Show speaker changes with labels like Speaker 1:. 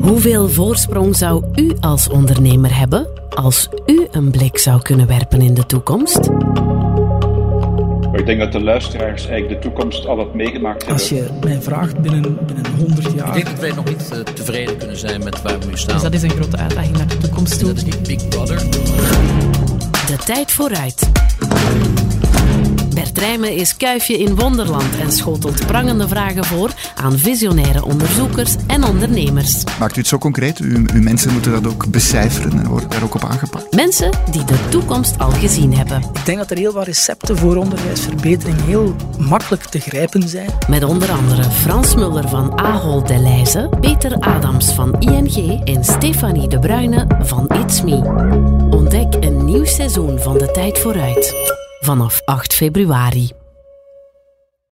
Speaker 1: Hoeveel voorsprong zou u als ondernemer hebben als u een blik zou kunnen werpen in de toekomst?
Speaker 2: Maar ik denk dat de luisteraars eigenlijk de toekomst al wat meegemaakt hebben.
Speaker 3: Als je mij vraagt binnen, binnen 100 jaar.
Speaker 4: Ik denk dat wij nog niet eh, tevreden kunnen zijn met waar we nu staan.
Speaker 5: Dus dat is een grote uitdaging naar de toekomst toe.
Speaker 4: Dat is niet Big Brother.
Speaker 1: De tijd vooruit. Bert Rijmen is kuifje in Wonderland en schotelt prangende vragen voor aan visionaire onderzoekers en ondernemers.
Speaker 6: Maakt u het zo concreet? Uw, uw mensen moeten dat ook becijferen en worden daar ook op aangepakt.
Speaker 1: Mensen die de toekomst al gezien hebben.
Speaker 3: Ik denk dat er heel wat recepten voor onderwijsverbetering heel makkelijk te grijpen zijn.
Speaker 1: Met onder andere Frans Muller van Ahol de Leijze, Peter Adams van ING en Stefanie de Bruyne van It's Me. Ontdek een nieuw seizoen van De Tijd Vooruit. Vanaf 8 februari.